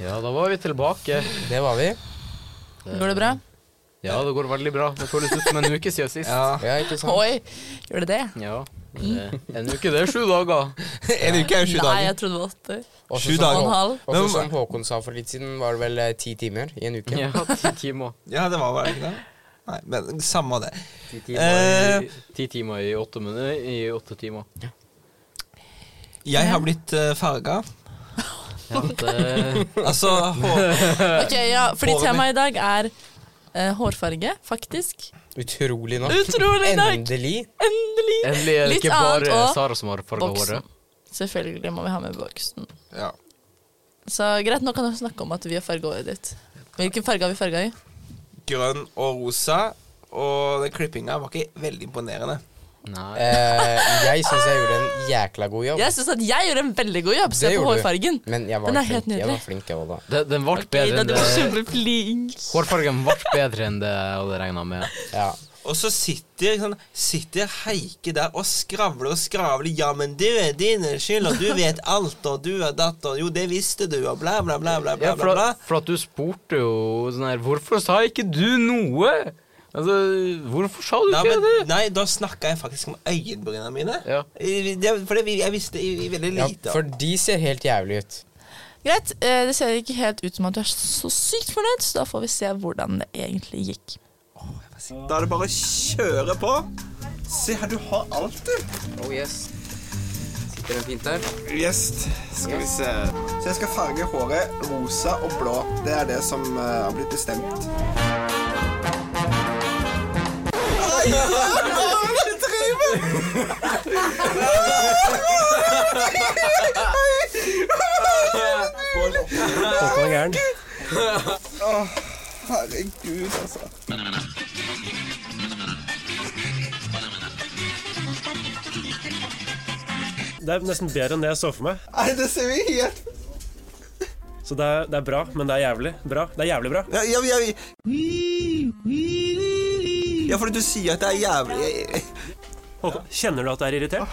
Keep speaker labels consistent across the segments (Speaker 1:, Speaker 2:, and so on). Speaker 1: da var vi tilbake.
Speaker 2: Det var vi.
Speaker 3: Går det bra?
Speaker 1: Ja, det går veldig bra. Det føles ut som en uke siden sist.
Speaker 2: Ja, ikke sant?
Speaker 3: Oi, gjør det det?
Speaker 1: Ja, men det- En uke, det er sju dager.
Speaker 4: En uke er jo sju
Speaker 3: Nei,
Speaker 4: dager.
Speaker 3: jeg trodde det var åtte.
Speaker 2: Også
Speaker 4: Sju
Speaker 2: som-
Speaker 4: dager.
Speaker 3: Og en halv.
Speaker 2: Også
Speaker 4: Men-
Speaker 2: som Håkon sa for litt siden, var det vel eh, ti timer i en uke.
Speaker 1: Ja, ti timer.
Speaker 4: Ja, det var vel ikke det? Nei, men samme av det.
Speaker 1: Ti timer, i, Eh, ti timer i åtte minutter i åtte timer.
Speaker 4: Jeg har blitt uh, farga.
Speaker 1: Ja, eh, det,
Speaker 4: Altså hår,
Speaker 3: Ok, ja, fordi
Speaker 4: Håret
Speaker 3: temaet i dag er eh, hårfarge, faktisk.
Speaker 2: Utrolig nok.
Speaker 3: Utrolig nok!
Speaker 2: Endelig.
Speaker 3: Endelig!
Speaker 1: endelig er det
Speaker 3: Litt
Speaker 1: ikke
Speaker 3: annet
Speaker 1: bare
Speaker 3: og
Speaker 1: Sara som har farga
Speaker 3: Boksen.
Speaker 1: håret.
Speaker 3: Selvfølgelig må vi ha med boksen.
Speaker 4: ja.
Speaker 3: Så greit, nå kan du snakke om at vi har farga håret ditt. Hvilken farge har vi farga i?
Speaker 4: Grønn og rosa. Og den klippinga var ikke veldig imponerende.
Speaker 1: Nei.
Speaker 2: Eh, jeg syns jeg gjorde en jækla god jobb.
Speaker 3: Jeg syns at jeg gjorde en veldig god jobb. Se
Speaker 2: Det
Speaker 3: på
Speaker 2: gjorde du.
Speaker 3: hårfargen.
Speaker 2: Men jeg var
Speaker 3: Den er helt
Speaker 2: flink. Jeg var
Speaker 3: nydelig.
Speaker 2: flink, jeg òg, da.
Speaker 1: Det, den ble
Speaker 3: Ida,
Speaker 1: bedre enn
Speaker 3: du var
Speaker 1: det
Speaker 3: kjempeflink.
Speaker 1: Hårfargen ble bedre enn det jeg hadde regna med.
Speaker 2: Ja.
Speaker 4: Og så sitter, sånn, sitter Heike der og skravler og skravler. 'Ja, men du er din skyld, og du vet alt, og du er datt, og jo, det visste du', og bla, bla, bla, bla, bla,
Speaker 1: Ja, for,
Speaker 4: bla, bla.
Speaker 1: at, for at du spurte jo sånn her Hvorfor sa ikke du noe? Altså, hvorfor sa du
Speaker 4: Nei,
Speaker 1: ikke
Speaker 4: men,
Speaker 1: det?
Speaker 4: nei, da snakka jeg faktisk om øyenbrynene mine.
Speaker 1: Ja.
Speaker 4: I- det- For det, vi- jeg visste i, i veldig
Speaker 2: ja,
Speaker 4: lite.
Speaker 2: for de ser helt jævlig ut.
Speaker 3: Greit, eh, det ser ikke helt ut som at du er så sykt fornøyd, så da får vi se hvordan det egentlig gikk.
Speaker 4: Da er det bare å kjøre på. Se her, du har alt, du.
Speaker 2: Oh yes. Sitter den fint der?
Speaker 5: Yes, skal vi se. Så jeg skal farge håret rosa og blå. Det er det som eh, har blitt bestemt. Herregud, altså.
Speaker 6: Det er nesten bedre enn det jeg så for meg.
Speaker 5: Nei, det ser vi helt
Speaker 6: Så det er, det er bra, men det er jævlig bra. Det er jævlig bra.
Speaker 4: Ja, ja, ja, ja. ja fordi du sier at det er jævlig Jeg,
Speaker 6: Håkon, kjenner du at det er irritert?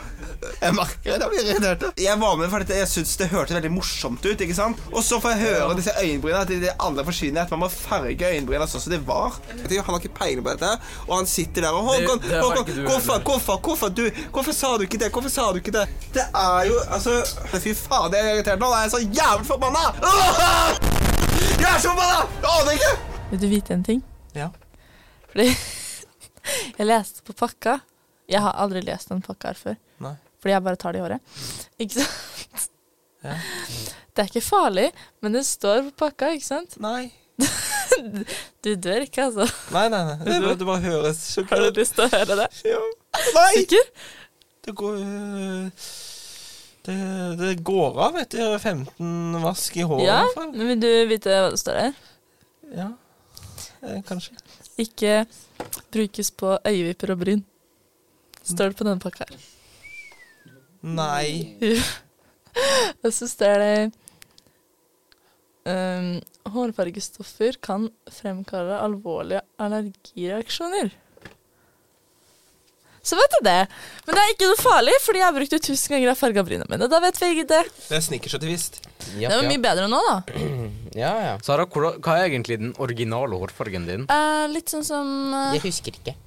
Speaker 5: Jeg merker det, jeg blir irritert. Jeg var med fordi jeg syntes det hørtes veldig morsomt ut. ikke sant? Og så får jeg høre disse øyenbrynene, at de- de aldri forsvinner. At man må farge øyenbrynene sånn som de var. Jeg tenker, Han har ikke peiling på dette, og han sitter der og Håkon,
Speaker 1: det har
Speaker 5: Håkon,
Speaker 1: ikke du
Speaker 5: hvorfor, hvorfor, hvorfor, du, hvorfor sa du ikke det? Hvorfor sa du ikke det? Det er jo Altså, fy faen, jeg er irritert nå. Da er jeg så jævlig forbanna! Åh! Jeg er så forbanna! Jeg aner ikke!
Speaker 3: Vil du vite en ting?
Speaker 4: Ja.
Speaker 3: Fordi jeg leste på pakka. Jeg har aldri lest en pakke her før.
Speaker 4: Nei.
Speaker 3: Fordi jeg bare tar det i håret. Ikke sant? Det er ikke farlig, men det står på pakka, ikke sant?
Speaker 4: Nei.
Speaker 3: Du dør ikke, altså.
Speaker 4: Nei, nei, nei. Det, bare- det bare høres så
Speaker 3: Har
Speaker 4: kult
Speaker 3: du
Speaker 4: ut.
Speaker 3: lyst til å høre det?
Speaker 4: Ja. Nei!
Speaker 3: Sikker?
Speaker 4: Det går øh, det, det går av etter 15 vask i håret,
Speaker 3: Ja,
Speaker 4: i hvert fall.
Speaker 3: men vil du vite hva det står der?
Speaker 4: Ja. Eh, Kanskje.
Speaker 3: Ikke brukes på øyevipper og bryn. Står det på denne pakka her.
Speaker 4: Nei.
Speaker 3: Og så står det ehm, Hårfargestoffer kan fremkalle alvorlige allergireaksjoner. Så vet jeg det. Men det er ikke noe farlig, fordi jeg har brukt det tusen ganger og farga brynene mine. Da vet vi det.
Speaker 4: Det er snickersativist.
Speaker 2: Ja,
Speaker 3: Det var
Speaker 2: ja.
Speaker 3: mye bedre nå, da.
Speaker 2: ja, ja.
Speaker 1: Sara, hva, hva er egentlig den originale hårfargen din?
Speaker 3: Eh, litt sånn som eh,
Speaker 2: Jeg husker ikke.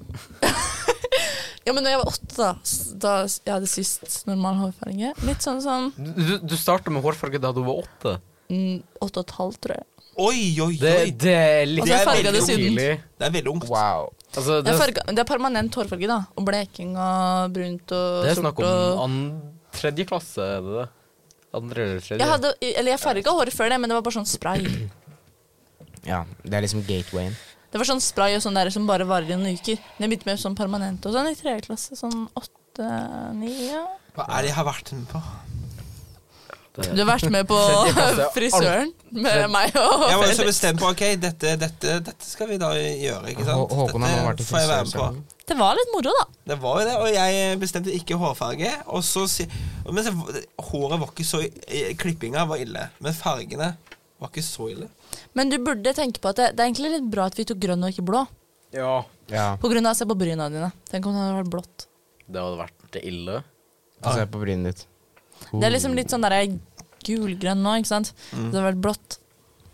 Speaker 3: Ja, men da jeg var åtte, da, s- da s- jeg hadde sist normal hårfarge Litt sånn som
Speaker 1: Du, du, du starta med hårfarge da du var åtte.
Speaker 3: mm, åtte og et halvt, tror jeg.
Speaker 4: Oi, oi,
Speaker 1: Det,
Speaker 4: oi.
Speaker 1: det er litt
Speaker 3: Og så
Speaker 4: er
Speaker 3: farga
Speaker 4: veldig
Speaker 3: det siden.
Speaker 1: tidlig.
Speaker 4: Det er veldig ungt.
Speaker 2: Wow.
Speaker 1: Altså,
Speaker 3: Det
Speaker 1: det,
Speaker 3: er, farga, det er permanent hårfarge, da. Og bleking og brunt og
Speaker 1: det er
Speaker 3: sort
Speaker 1: snakk om
Speaker 3: og
Speaker 1: an, tredje klasse, er det det? Andre eller tredje?
Speaker 3: jeg, hadde, eller jeg farga håret før det, men det var bare sånn spray.
Speaker 2: Ja, det er liksom gatewayen.
Speaker 3: Det var sånn spray og sånn der som bare varer i noen uker. Men jeg begynte med sånn permanent og sånn i tredje klasse. Sånn åtte, ni ja.
Speaker 4: Hva er det jeg har vært med på?
Speaker 3: Du har vært med på
Speaker 1: klasse,
Speaker 3: frisøren med meg og
Speaker 4: Jeg var jo så
Speaker 3: Felix.
Speaker 4: bestemt på ok, dette, dette, dette skal vi da gjøre. ikke sant?
Speaker 2: Hå- Håkon har nå vært i
Speaker 4: dette får jeg være med på.
Speaker 2: frisøren.
Speaker 3: Det var litt moro, da.
Speaker 4: Det var jo det, og jeg bestemte ikke hårfarge. Og så, si- men så, håret var ikke så Klippinga var ille, men fargene var ikke så ille.
Speaker 3: Men du burde tenke på at det, det er egentlig litt bra at vi tok grønn og ikke blå.
Speaker 1: Ja.
Speaker 2: Ja,
Speaker 3: På grunn av se på bryna dine. Tenk om det hadde vært blått.
Speaker 1: Det hadde vært ille.
Speaker 2: og se på brynet ditt.
Speaker 3: Det er liksom litt sånn der gulgrønn nå, ikke sant? Det hadde vært blått.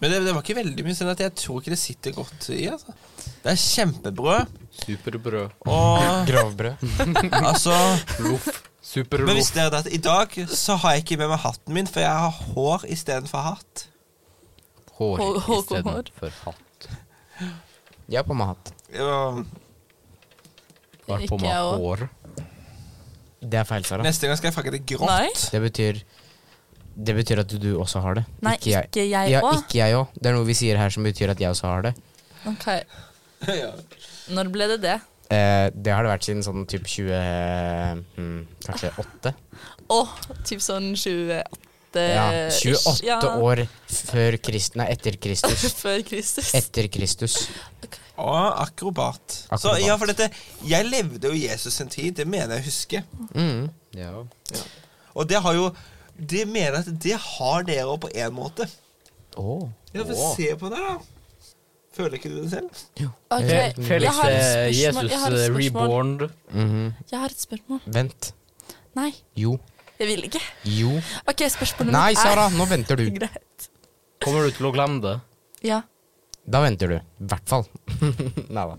Speaker 4: Men det, det var ikke veldig mye, sånn at jeg tror ikke det sitter godt i. altså. Det er kjempebrød,
Speaker 1: Superbrød.
Speaker 4: og
Speaker 2: Grovbrød.
Speaker 4: altså
Speaker 1: Loff.
Speaker 4: Men
Speaker 1: Superloff.
Speaker 4: visste dere at i dag så har jeg ikke med meg hatten min, for jeg har hår istedenfor hatt.
Speaker 1: Hår
Speaker 3: Hår- hår-
Speaker 1: istedenfor hatt.
Speaker 2: Jeg har på meg hatt.
Speaker 4: Og
Speaker 1: Jeg har på
Speaker 3: Ikke jeg
Speaker 1: meg
Speaker 3: også.
Speaker 1: hår.
Speaker 2: Det er feil, Sara.
Speaker 4: Neste gang skal jeg farge det grått.
Speaker 3: Nei.
Speaker 2: Det betyr det betyr at du også har det.
Speaker 3: Nei, ikke jeg
Speaker 2: Ja,
Speaker 3: òg.
Speaker 2: ikke jeg òg. Det er noe vi sier her som betyr at jeg også har det.
Speaker 3: Ok,
Speaker 4: Ja.
Speaker 3: Når ble det det?
Speaker 2: Eh, det har det vært siden sånn typ 20 eh, hmm, Kanskje 8?
Speaker 3: Å, typ sånn 28
Speaker 2: Ja,
Speaker 3: Eh, ish.
Speaker 2: 28
Speaker 3: Ja,
Speaker 2: år før Krist... Nei, etter Kristus.
Speaker 3: Før Kristus.
Speaker 2: Etter Kristus.
Speaker 4: Og akrobat. Så
Speaker 2: Akrobat.
Speaker 4: ja, for dette Jeg levde jo Jesus en tid, det mener jeg å huske.
Speaker 2: Mm.
Speaker 1: Ja.
Speaker 4: Og det har jo Det mener jeg at det har dere òg, på én måte.
Speaker 2: Åh.
Speaker 4: Ja, for
Speaker 2: Åh.
Speaker 4: se på det, da. Føler ikke du det selv?
Speaker 3: Ok,
Speaker 2: Eh,
Speaker 3: jeg
Speaker 1: Felix
Speaker 3: har et
Speaker 1: eh,
Speaker 3: spørsmål,
Speaker 1: Jesus
Speaker 3: jeg har et
Speaker 1: eh,
Speaker 3: spørsmål.
Speaker 1: reborn.
Speaker 2: Mhm.
Speaker 3: Jeg har et spørsmål.
Speaker 2: Vent.
Speaker 3: Nei,
Speaker 2: Jo.
Speaker 3: jeg vil ikke.
Speaker 2: Jo.
Speaker 3: Ok, spørsmålet
Speaker 2: Nei,
Speaker 3: mitt er-
Speaker 2: Sara, nå venter du.
Speaker 3: Greit.
Speaker 1: Kommer du til å glemme det?
Speaker 3: Ja.
Speaker 2: Da venter du. I hvert fall. Nei da.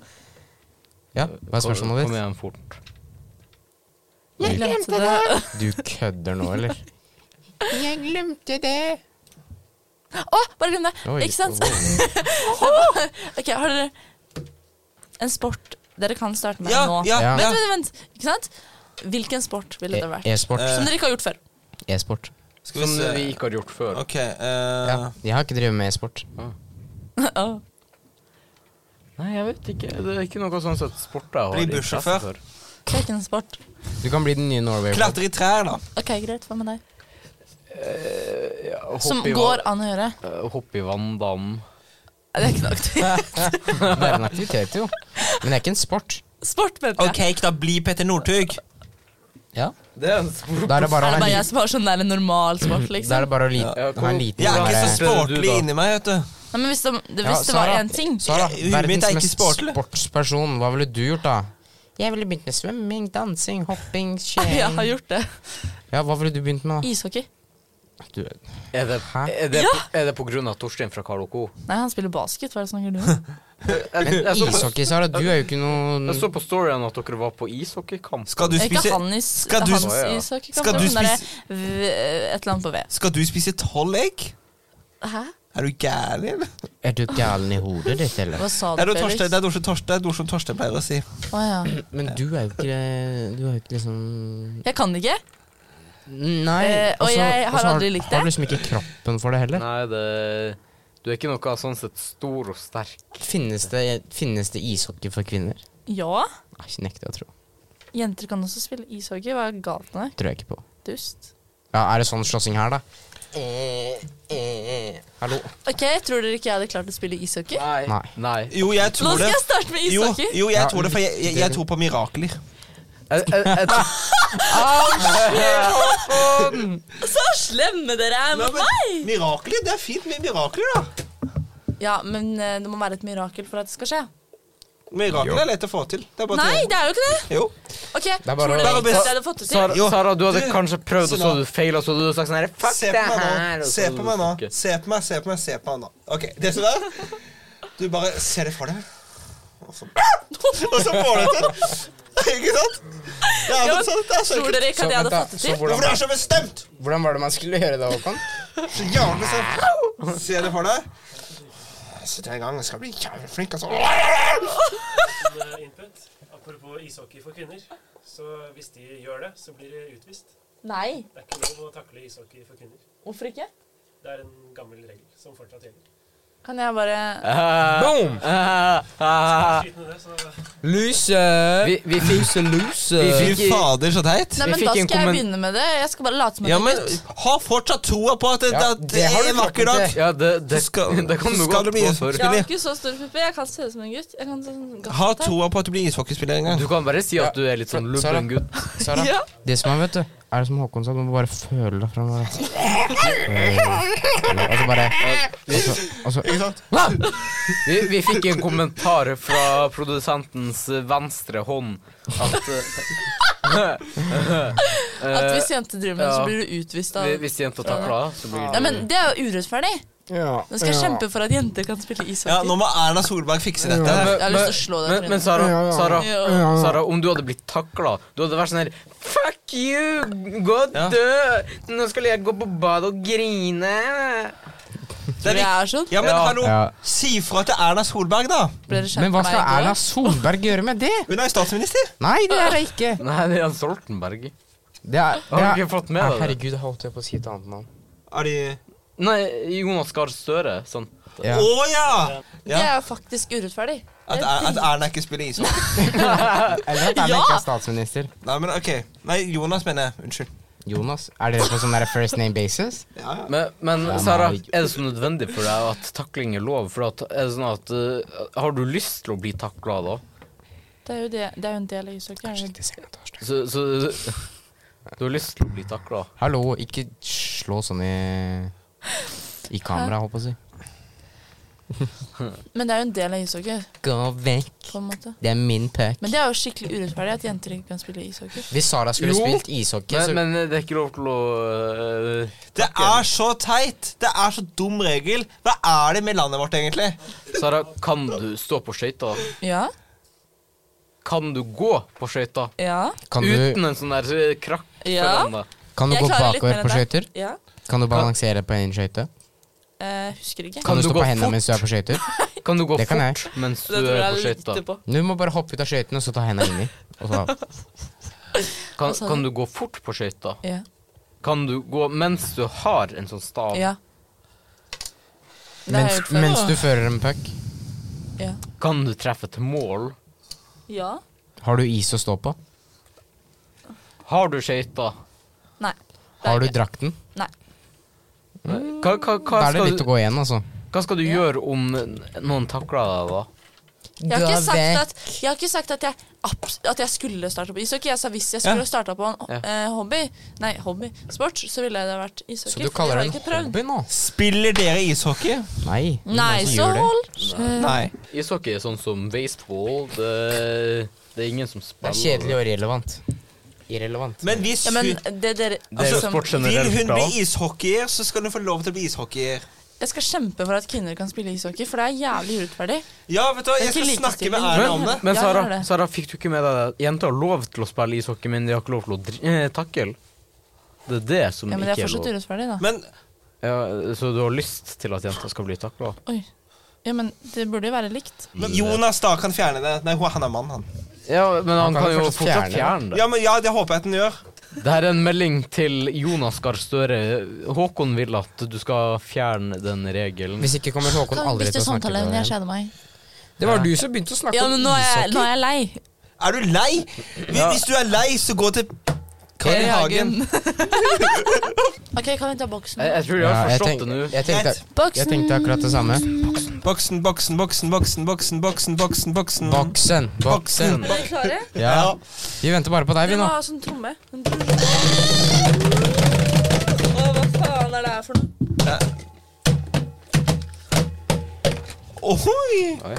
Speaker 2: Ja, hva er
Speaker 1: Kom-
Speaker 2: spørsmålet
Speaker 1: Kom
Speaker 2: ditt?
Speaker 1: igjen fort.
Speaker 3: Jeg glemte det.
Speaker 2: Du kødder nå, eller? Jeg glemte det.
Speaker 3: Å, bare glem det.
Speaker 2: Oi,
Speaker 3: Ikke sant?
Speaker 2: wow.
Speaker 3: Ok, har dere en sport dere kan starte med
Speaker 4: Ja,
Speaker 3: nå?
Speaker 4: ja,
Speaker 2: Ja.
Speaker 4: ja.
Speaker 3: Vent, vent, vent. Ikke sant? Hvilken sport ville det vært?
Speaker 2: E- E-sport.
Speaker 4: Eh,
Speaker 3: Som dere ikke har gjort før.
Speaker 1: Eh.
Speaker 2: E-sport.
Speaker 4: Skal vi
Speaker 1: Som
Speaker 4: se
Speaker 1: vi ikke har gjort før.
Speaker 4: OK. eh,
Speaker 2: Ja. Jeg har ikke drevet med e-sport.
Speaker 3: Å,
Speaker 1: Nei, jeg vet ikke. Det er ikke noe sånn sett sport jeg har
Speaker 4: Bli
Speaker 1: interesse
Speaker 4: bussjåfør.
Speaker 1: for.
Speaker 3: det er ikke en sport.
Speaker 2: Du kan bli den nye Norway.
Speaker 4: Klatre i trær, da.
Speaker 3: Ok, greit. Hva med deg?
Speaker 1: Ja, hopp
Speaker 3: Som
Speaker 1: i
Speaker 3: går
Speaker 1: va-
Speaker 3: an å gjøre.
Speaker 1: eh, Hoppe i vanndam.
Speaker 3: Nei, Det er ikke noe aktivt.
Speaker 2: Det er en aktivitet, jo. Men det er ikke en sport.
Speaker 3: Sport, mente jeg.
Speaker 4: OK, da blir Petter Northug.
Speaker 2: Ja.
Speaker 1: Det er en sport.
Speaker 2: Da er det bare
Speaker 3: Er
Speaker 2: å
Speaker 3: det
Speaker 2: ha
Speaker 3: bare
Speaker 2: en
Speaker 3: jeg
Speaker 2: liten,
Speaker 3: som har sånn der normal
Speaker 4: Mm,
Speaker 3: sport,
Speaker 2: da er
Speaker 3: liksom?
Speaker 2: det bare å li
Speaker 1: Ja,
Speaker 2: ha en liten
Speaker 4: Jeg er ikke så
Speaker 2: sånn
Speaker 1: Hvordan er
Speaker 2: der-
Speaker 1: det du,
Speaker 4: sportlig
Speaker 1: da?
Speaker 4: inni meg, vet du.
Speaker 3: Nei, men hvis det, det,
Speaker 2: Ja,
Speaker 3: hvis det var
Speaker 2: Sara.
Speaker 3: én ting
Speaker 2: Sara,
Speaker 4: Jeg- huet mitt er
Speaker 2: verdens
Speaker 4: ikke
Speaker 2: mest
Speaker 4: sportlig.
Speaker 2: sportsperson. Hva ville du gjort, da? Jeg ville begynt med svømming, dansing, hopping,
Speaker 3: Jeg har
Speaker 2: kjøring
Speaker 3: gjort det.
Speaker 2: Ja, hva ville du begynt med, da?
Speaker 3: Ishockey.
Speaker 2: Du,
Speaker 1: Er det,
Speaker 2: Hæ?
Speaker 1: er det, er det på grunn av Torstein fra Karl og Co?
Speaker 3: Nei, han spiller basket. Hva er det snakker du om?
Speaker 1: Jeg, jeg, så på,
Speaker 2: ishockey, Sara, du er jo ikke noen
Speaker 1: jeg så på storyen at dere var på ishockeykamp.
Speaker 4: Skal du
Speaker 3: Er Eh, ikke
Speaker 4: spise
Speaker 3: han i s-
Speaker 4: Skal du-
Speaker 3: hans
Speaker 1: Å, ja.
Speaker 3: ishockey?
Speaker 4: Skal du
Speaker 3: Sånn derre v- eh, Et eller annet på V.
Speaker 4: Skal du spise tolv egg?
Speaker 3: Hæ?
Speaker 4: Er du gæren?
Speaker 2: Er du gæren i hodet ditt, eller?
Speaker 3: Hva sa
Speaker 4: Det
Speaker 3: du,
Speaker 4: er noe Torstein,
Speaker 3: Felix?
Speaker 4: det er noe som Torstein, det er noe som Torstein pleier å si.
Speaker 3: Å ja.
Speaker 2: Men du er jo ikke Du er jo ikke liksom
Speaker 3: Jeg kan det ikke.
Speaker 2: Nei.
Speaker 3: Eh, og
Speaker 2: også-
Speaker 3: jeg har
Speaker 2: også
Speaker 3: aldri likt
Speaker 2: Har
Speaker 3: det.
Speaker 2: du liksom ikke kroppen for det heller?
Speaker 1: Nei, det Du er ikke noe sånn sett stor og sterk.
Speaker 2: Finnes det, finnes det ishockey for kvinner?
Speaker 3: Ja.
Speaker 2: Nei, ikke nekter jeg å tro.
Speaker 3: Jenter kan også spille ishockey. Hva er galt med deg?
Speaker 2: Tror jeg ikke på.
Speaker 3: Dust.
Speaker 2: Ja, Er det sånn slåssing her, da?
Speaker 4: Eh,
Speaker 2: Hallo?
Speaker 3: OK, tror dere ikke jeg hadde klart å spille ishockey?
Speaker 1: Nei.
Speaker 2: Nei.
Speaker 1: Nei.
Speaker 4: Jo, jeg
Speaker 3: Nå
Speaker 4: tror
Speaker 3: skal
Speaker 4: det.
Speaker 3: jeg starte med
Speaker 4: Jo,
Speaker 3: ishockey.
Speaker 4: jo jeg
Speaker 2: Ja,
Speaker 4: tror det, for jeg, jeg, jeg tror på mirakler.
Speaker 1: Jeg, jeg, jeg,
Speaker 3: Så slemme dere er mot meg!
Speaker 4: Mirakler? Det er fint med mirakler, da.
Speaker 3: Ja, men eh, det må være et mirakel for at det skal skje.
Speaker 4: Mirakler er lett å få til. Det er bare
Speaker 3: Nei,
Speaker 4: til.
Speaker 3: det er jo ikke det!
Speaker 4: Jo.
Speaker 3: OK, tror
Speaker 2: bare å-
Speaker 3: dere
Speaker 4: Bare
Speaker 3: ikke
Speaker 4: bes-
Speaker 3: jeg hadde fått det til?
Speaker 1: Sara, Sara, du hadde
Speaker 4: du-
Speaker 1: kanskje prøvd, og så
Speaker 4: Sara.
Speaker 1: hadde du feila, så hadde du sagt sånn her Fuck
Speaker 4: Se
Speaker 1: det
Speaker 4: på meg
Speaker 1: her! altså. og
Speaker 4: nå.
Speaker 1: så
Speaker 4: Se
Speaker 1: hadde
Speaker 4: på
Speaker 1: du
Speaker 4: meg nå.
Speaker 1: stukket.
Speaker 4: Se på meg, se på meg, se på meg nå. OK, det som er Du bare ser det for deg. Og så, og så får du det til. Ikke sant? Det er,
Speaker 3: Ja,
Speaker 4: noe
Speaker 3: men
Speaker 4: sånt, det er så
Speaker 3: Tror
Speaker 4: enkelt.
Speaker 3: dere ikke
Speaker 2: Så,
Speaker 3: at jeg hadde
Speaker 2: vent da,
Speaker 3: fått det
Speaker 2: så
Speaker 3: til?
Speaker 4: Hvorfor
Speaker 2: hvordan,
Speaker 4: det er så bestemt?
Speaker 2: hvordan var det man skulle gjøre det, Håkon?
Speaker 4: Så jævlig sånn. Se det for deg. Sett deg i gang, jeg skal bli jævlig flink, altså.
Speaker 6: Liten eh, input. Apropos ishockey for kvinner. Så hvis de gjør det, så blir de utvist.
Speaker 3: Nei.
Speaker 6: Det er ikke lov å takle ishockey for kvinner.
Speaker 3: Hvorfor ikke?
Speaker 6: Det er en gammel regel som fortsatt gjelder.
Speaker 3: Kan jeg bare
Speaker 1: Eh,
Speaker 2: Boom!
Speaker 1: eh, eh,
Speaker 6: Skit med det, så
Speaker 2: Loser!
Speaker 1: vi, vi fikk
Speaker 2: Loser!
Speaker 1: Vi
Speaker 4: Fy
Speaker 1: fikk-
Speaker 4: fader, så teit.
Speaker 3: Nei,
Speaker 1: Vi
Speaker 3: men
Speaker 1: fikk
Speaker 3: da skal
Speaker 1: en
Speaker 3: jeg
Speaker 1: kommen-
Speaker 3: begynne med det. Jeg skal bare late som at
Speaker 4: Ja,
Speaker 3: jeg
Speaker 4: men ha fortsatt troa på at det,
Speaker 2: Ja,
Speaker 4: at det
Speaker 2: det har
Speaker 4: er
Speaker 2: du
Speaker 4: en vakker
Speaker 2: klart
Speaker 4: dag.
Speaker 2: ikke.
Speaker 1: Ja, det, det,
Speaker 4: Så skal-
Speaker 1: det kan
Speaker 4: så
Speaker 1: du
Speaker 4: skal
Speaker 1: godt
Speaker 4: det bli
Speaker 1: gå
Speaker 4: en-
Speaker 1: for.
Speaker 3: Jeg har ikke så stor puppe. Jeg kan se ut som en gutt. Jeg kan sånn
Speaker 4: Ha
Speaker 3: gaffatape.
Speaker 4: troa på at du blir ishockeyspiller en gang.
Speaker 1: Du kan bare si at
Speaker 2: Ja.
Speaker 1: du er litt sånn
Speaker 2: Sara.
Speaker 1: lubben gutt.
Speaker 2: Sara,
Speaker 3: Ja.
Speaker 2: det som er, vet du, er det som Håkon sa, du må bare føle deg fram. Og så bare altså, Og så, og så
Speaker 4: Ikke sant?
Speaker 1: Vi, vi fikk en kommentar fra produsentens venstre hånd at eh,
Speaker 3: At
Speaker 1: eh,
Speaker 3: hvis jenter driver med det,
Speaker 1: Ja.
Speaker 3: så blir du utvist av
Speaker 1: hvis jenta takler det, så blir
Speaker 3: Ja, men det er jo urettferdig.
Speaker 2: Ja.
Speaker 3: Nå skal jeg kjempe for at jenter kan spille
Speaker 4: Ja,
Speaker 3: ishockey.
Speaker 4: Nå må Erna Solberg fikse dette. her.
Speaker 3: Jeg har lyst til å slå deg
Speaker 1: Men,
Speaker 3: for
Speaker 1: men
Speaker 3: det.
Speaker 1: Sara,
Speaker 2: Ja, ja.
Speaker 1: Sara,
Speaker 3: Ja.
Speaker 1: Sara, om du hadde blitt takla Du hadde vært sånn her Fuck you! Gå og
Speaker 4: Ja.
Speaker 1: dø! Nå skal jeg gå på badet og grine!
Speaker 4: Det
Speaker 3: Jeg
Speaker 4: er viktig.
Speaker 3: er sånn.
Speaker 4: Ja, men
Speaker 1: Ja.
Speaker 4: hallo,
Speaker 2: Ja.
Speaker 4: si fra til Erna Solberg, da.
Speaker 3: Ble dere kjent
Speaker 2: Men hva
Speaker 3: med
Speaker 2: skal
Speaker 3: meg i går?
Speaker 2: Erna Solberg gjøre med det?
Speaker 4: Hun er jo statsminister.
Speaker 2: Nei, det er det ikke.
Speaker 1: Nei, det er Stoltenberg.
Speaker 2: Det er,
Speaker 1: Har du
Speaker 2: det
Speaker 1: ikke fått
Speaker 2: er,
Speaker 1: med deg det?
Speaker 2: herregud, jeg holdt jeg på å si et annet navn.
Speaker 4: Er de
Speaker 1: Nei, Jonas Gahr Støre. Sånn.
Speaker 4: Å
Speaker 2: Ja.
Speaker 4: ja!
Speaker 3: Det
Speaker 4: ja.
Speaker 3: er faktisk urettferdig.
Speaker 4: At, Er- at Erna ikke spiller ishockey.
Speaker 2: Eller at han
Speaker 3: Ja!
Speaker 2: ikke er statsminister.
Speaker 4: Nei, men OK. Nei, Jonas mener jeg. Unnskyld.
Speaker 2: Jonas, er dere på sånn der first name basis?
Speaker 1: Men, men
Speaker 2: Ja,
Speaker 1: Sara,
Speaker 2: nei.
Speaker 1: er det så nødvendig for deg at takling er lov? For at, er det sånn at eh, Har du lyst til å bli takla da?
Speaker 3: Det er jo, det, det er jo en del av ishockey. er det
Speaker 2: Kanskje
Speaker 3: ikke?
Speaker 2: ikke senga torsdag.
Speaker 1: Så, så Du har lyst til å bli takla?
Speaker 2: Hallo, ikke slå sånn i i kamera, holdt på å si.
Speaker 3: Men det er jo en del av ishockey,
Speaker 2: Gå vekk,
Speaker 3: på en måte.
Speaker 2: det er min puck.
Speaker 3: Men det er jo skikkelig urettferdig at jenter ikke kan spille ishockey.
Speaker 2: Hvis Sara skulle
Speaker 1: Jo.
Speaker 2: spilt ishockey, så
Speaker 1: Men, men det er ikke lov til å eh,
Speaker 4: Det er så teit! Det er så dum regel. Hva er det med landet vårt, egentlig?
Speaker 1: Sara, kan du stå på skøyter?
Speaker 3: Ja,
Speaker 1: Kan du gå på skøyter?
Speaker 3: ja,
Speaker 2: kan du,
Speaker 1: Uten en sånn der eh, krakk
Speaker 3: Ja.
Speaker 1: foran deg.
Speaker 2: kan du
Speaker 3: Jeg
Speaker 2: gå
Speaker 3: klarer litt mer
Speaker 2: bakover
Speaker 3: enn
Speaker 2: på
Speaker 3: deg.
Speaker 2: skøyter?
Speaker 3: ja.
Speaker 2: Kan du balansere på én skøyte?
Speaker 3: Eh, husker ikke.
Speaker 1: Kan
Speaker 2: Kan du
Speaker 1: du
Speaker 2: stå
Speaker 1: gå
Speaker 2: på hendene
Speaker 1: fort?
Speaker 2: mens du er på skøyter?
Speaker 1: Kan du gå
Speaker 2: Det kan jeg.
Speaker 1: fort mens du
Speaker 3: Det tror
Speaker 1: er
Speaker 3: jeg
Speaker 1: på
Speaker 3: er lite
Speaker 1: skøyter?
Speaker 3: på.
Speaker 2: Du må bare hoppe ut av skøytene og så ta hendene inni. Og så
Speaker 1: Kan,
Speaker 3: sa
Speaker 1: kan
Speaker 3: du?
Speaker 1: du gå fort på skøyter?
Speaker 3: Ja.
Speaker 1: Kan du gå mens du har en sånn stav?
Speaker 3: ja. Det har jeg
Speaker 2: Mens,
Speaker 3: gjort før.
Speaker 2: mens du fører en puck,
Speaker 3: Ja.
Speaker 1: Kan du treffe til mål?
Speaker 3: ja.
Speaker 2: har du is å stå på?
Speaker 1: Har du skøyter?
Speaker 3: Nei. det er
Speaker 2: Har du
Speaker 3: ikke.
Speaker 2: drakten?
Speaker 3: Nei.
Speaker 1: Hva, hva, hva,
Speaker 2: Da er det
Speaker 1: skal
Speaker 2: litt
Speaker 1: du,
Speaker 2: å gå igjen, altså.
Speaker 1: hva skal du
Speaker 3: Ja.
Speaker 1: gjøre om noen takler deg, da?
Speaker 3: Jeg har, ikke sagt at, jeg har ikke sagt at jeg, abs- at jeg skulle starte på ishockey. Jeg sa hvis jeg skulle starta på en
Speaker 1: Ja.
Speaker 3: eh, hobby, nei, hobby, sport, så ville det vært ishockey.
Speaker 2: Så du
Speaker 3: for
Speaker 2: kaller
Speaker 3: har
Speaker 2: det
Speaker 3: ikke
Speaker 2: en
Speaker 3: prøvd.
Speaker 2: hobby nå?
Speaker 4: Spiller dere
Speaker 3: Eh.
Speaker 4: ishockey?
Speaker 2: Nei. men
Speaker 3: Nei,
Speaker 2: altså,
Speaker 3: så
Speaker 2: gjør det.
Speaker 3: hold
Speaker 4: Nei.
Speaker 1: Ishockey er sånn som baseball. Det, det er ingen som
Speaker 2: Det er
Speaker 1: spiller
Speaker 2: kjedelig og irrelevant. Irrelevant.
Speaker 4: Men hvis
Speaker 3: Ja, men
Speaker 4: hun
Speaker 3: det dere
Speaker 1: Det er jo
Speaker 3: altså,
Speaker 1: sport
Speaker 4: vil
Speaker 1: generelt.
Speaker 4: hun
Speaker 1: da.
Speaker 4: bli ishockeyer, så skal hun få lov til å bli ishockeyer.
Speaker 3: Jeg skal kjempe for at kvinner kan spille ishockey, for det er jævlig urettferdig.
Speaker 1: Mm,
Speaker 4: Ja, vet du
Speaker 3: Det
Speaker 4: hva,
Speaker 3: er
Speaker 4: jeg skal
Speaker 3: ikke
Speaker 4: snakke med
Speaker 3: likestilling.
Speaker 4: Erna om det.
Speaker 1: Men
Speaker 3: Ja,
Speaker 1: Sara,
Speaker 3: gjør det.
Speaker 1: Sara, fikk du ikke med deg at jenter har lov til å spille ishockey, men de har ikke lov til å dri eh, takle? Det er det som
Speaker 3: Ja, men det er
Speaker 1: ikke er
Speaker 3: fortsatt
Speaker 1: lov.
Speaker 3: urettferdig, da.
Speaker 4: Men
Speaker 1: Ja, så du har lyst til at jenter skal bli takla?
Speaker 3: Oi. Ja, men det burde jo være likt.
Speaker 4: Men Jonas da kan fjerne det. Nei, hun- han er mann, han.
Speaker 1: Ja, men han,
Speaker 2: kan
Speaker 1: kan
Speaker 2: jo
Speaker 1: jo
Speaker 2: fortsatt
Speaker 1: fortsatt
Speaker 2: fjerne
Speaker 1: fjerne det.
Speaker 4: Ja, men ja, det håper jeg at han gjør.
Speaker 1: Det her er en melding til Jonas Gahr Støre. Håkon vil at du skal fjerne den regelen.
Speaker 2: Hvis ikke kommer Håkon aldri til å snakke med deg igjen.
Speaker 3: kjeder meg?
Speaker 2: Det var du som begynte å snakke
Speaker 3: Ja,
Speaker 2: om
Speaker 3: men nå er jeg, nå
Speaker 2: ishockey.
Speaker 3: er jeg lei.
Speaker 4: Er du lei? Hvis, hvis du er lei, så gå til Carl I. Hagen.
Speaker 3: OK, kan vi ta boksen?
Speaker 1: Jeg, jeg tror jeg
Speaker 2: Ja,
Speaker 1: har
Speaker 2: jeg,
Speaker 1: forstått
Speaker 2: tenk,
Speaker 1: det nå.
Speaker 2: jeg, tenkte, jeg
Speaker 3: Boksen!
Speaker 2: tenkte akkurat det samme.
Speaker 4: Boksen, boksen, boksen, boksen, boksen, boksen, boksen. boksen.
Speaker 2: Boksen. Boksen.
Speaker 3: Er dere klare?
Speaker 2: Ja. Vi venter bare på deg, vi
Speaker 3: Dere må
Speaker 2: nå.
Speaker 3: ha sånn tromme. En tromme. Å, hva faen er det her for noe?
Speaker 4: Ohoi!
Speaker 1: Oi.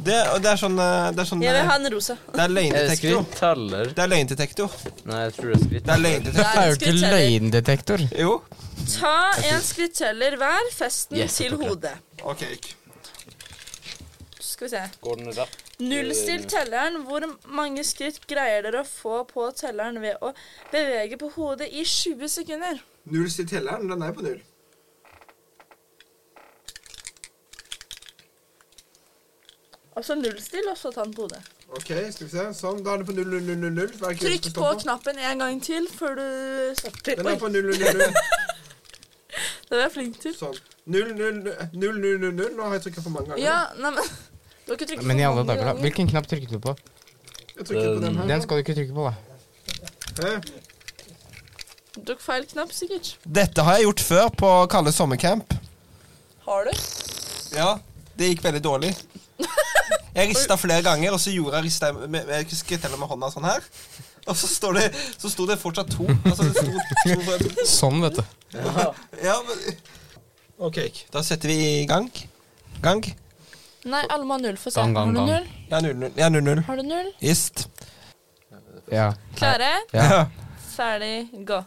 Speaker 4: Det, og det er sånn eh, Det er, sånn,
Speaker 3: Jeg vil
Speaker 4: eh,
Speaker 3: ha en rosa.
Speaker 4: det er
Speaker 1: Er det
Speaker 4: løgndetektor.
Speaker 1: skritteller?
Speaker 4: Det er løgndetektor.
Speaker 1: Nei, jeg tror det er
Speaker 4: Det er
Speaker 1: skritteller.
Speaker 3: Det
Speaker 4: løgndetektor.
Speaker 2: Det er jo
Speaker 3: et
Speaker 2: ikke
Speaker 3: skritt heller.
Speaker 2: løgndetektor.
Speaker 4: Jo.
Speaker 3: Ta en skritteller hver, fest den
Speaker 1: Yes, jeg
Speaker 3: til
Speaker 1: tok det.
Speaker 3: hodet.
Speaker 5: OK.
Speaker 3: Så Skal vi se.
Speaker 1: Går den rett?
Speaker 3: Nullstill telleren. Hvor mange skritt greier dere å få på telleren ved å bevege på hodet i 20 sekunder?
Speaker 5: Null til telleren. Den er på null.
Speaker 3: Altså nullstill, og så ta den på hodet.
Speaker 5: OK, skal vi se. Sånn. Da er det på null, null, null, null, null. Hver kule
Speaker 3: Trykk
Speaker 5: skal stå
Speaker 3: på knappen en gang til før du stopper.
Speaker 5: Den
Speaker 3: Oi,
Speaker 5: er på null, null, null, null.
Speaker 3: det var jeg flink til.
Speaker 5: Sånn. Null, null, null, null, null, null. Nå har jeg trykket for mange ganger.
Speaker 3: Ja, nei, men Du har ikke trykket
Speaker 2: Men i
Speaker 3: på
Speaker 2: alle
Speaker 3: mange
Speaker 2: dager, da.
Speaker 3: ganger.
Speaker 2: Hvilken knapp trykket du på?
Speaker 5: Jeg trykker på den her.
Speaker 2: Den skal du ikke trykke på, da.
Speaker 5: Hæ?
Speaker 3: Du tok feil knapp, sikkert.
Speaker 4: Dette har jeg gjort før på Kalle sommercamp.
Speaker 3: Har du?
Speaker 4: Ja, det gikk veldig dårlig. Jeg rista flere ganger, og så gjorde jeg rista med, med, jeg husker til og med hånda sånn her. Og så, står det, så sto det fortsatt to. Altså, det sto to
Speaker 2: Sånn, vet du.
Speaker 4: ja, men, OK, da setter vi i gang. Gang.
Speaker 3: Nei, alle må ha null for seg. Har
Speaker 1: Gang, gang,
Speaker 3: du
Speaker 1: gang.
Speaker 3: null?
Speaker 4: Ja, 0-0. Ja, 0-0.
Speaker 3: Har du null?
Speaker 4: Ist.
Speaker 2: Ja.
Speaker 3: Klare,
Speaker 2: Ja.
Speaker 3: ferdig, gå.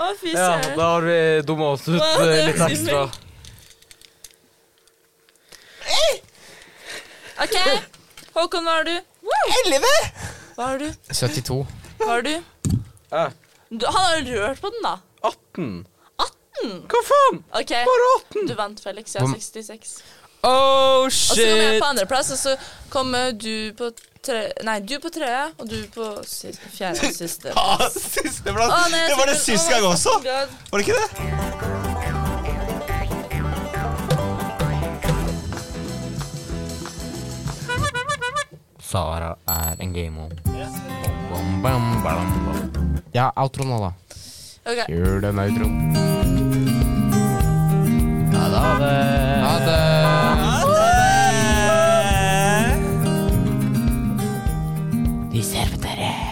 Speaker 3: Å, fy
Speaker 1: Ja,
Speaker 3: søren.
Speaker 1: da har vi dumma oss ut
Speaker 3: Wow,
Speaker 1: eh,
Speaker 3: det
Speaker 1: litt
Speaker 3: var
Speaker 1: ekstra.
Speaker 3: OK. Håkon, hva har du?
Speaker 4: Elleve!
Speaker 3: Hva har du?
Speaker 2: 72.
Speaker 3: Hva har du?
Speaker 1: Ja.
Speaker 4: Eh.
Speaker 3: du han har rørt på den, da.
Speaker 1: 18. Hva faen?
Speaker 3: OK,
Speaker 1: Bare 18!
Speaker 3: du vant, Felix. Jeg har 66.
Speaker 1: Oh,
Speaker 3: Og så kom jeg
Speaker 1: shit!
Speaker 3: på andreplass, og så kom eh, du på tre... Nei, du på tredje, og du på si- fjerde og siste. Å,
Speaker 4: Ah, siste plass.
Speaker 3: nei, jeg
Speaker 4: det var det
Speaker 3: tenkte-
Speaker 4: sist
Speaker 3: å,
Speaker 4: gang også.
Speaker 3: God.
Speaker 4: Var det ikke det?
Speaker 2: Sara er en gamer. Bam, bam, bam, bam. Ja, outro nå, da.
Speaker 3: Ok.
Speaker 2: Gjør den outroen.
Speaker 1: Ja, da var det
Speaker 2: Ha det.
Speaker 4: Ha det!
Speaker 2: Vi ser på dere.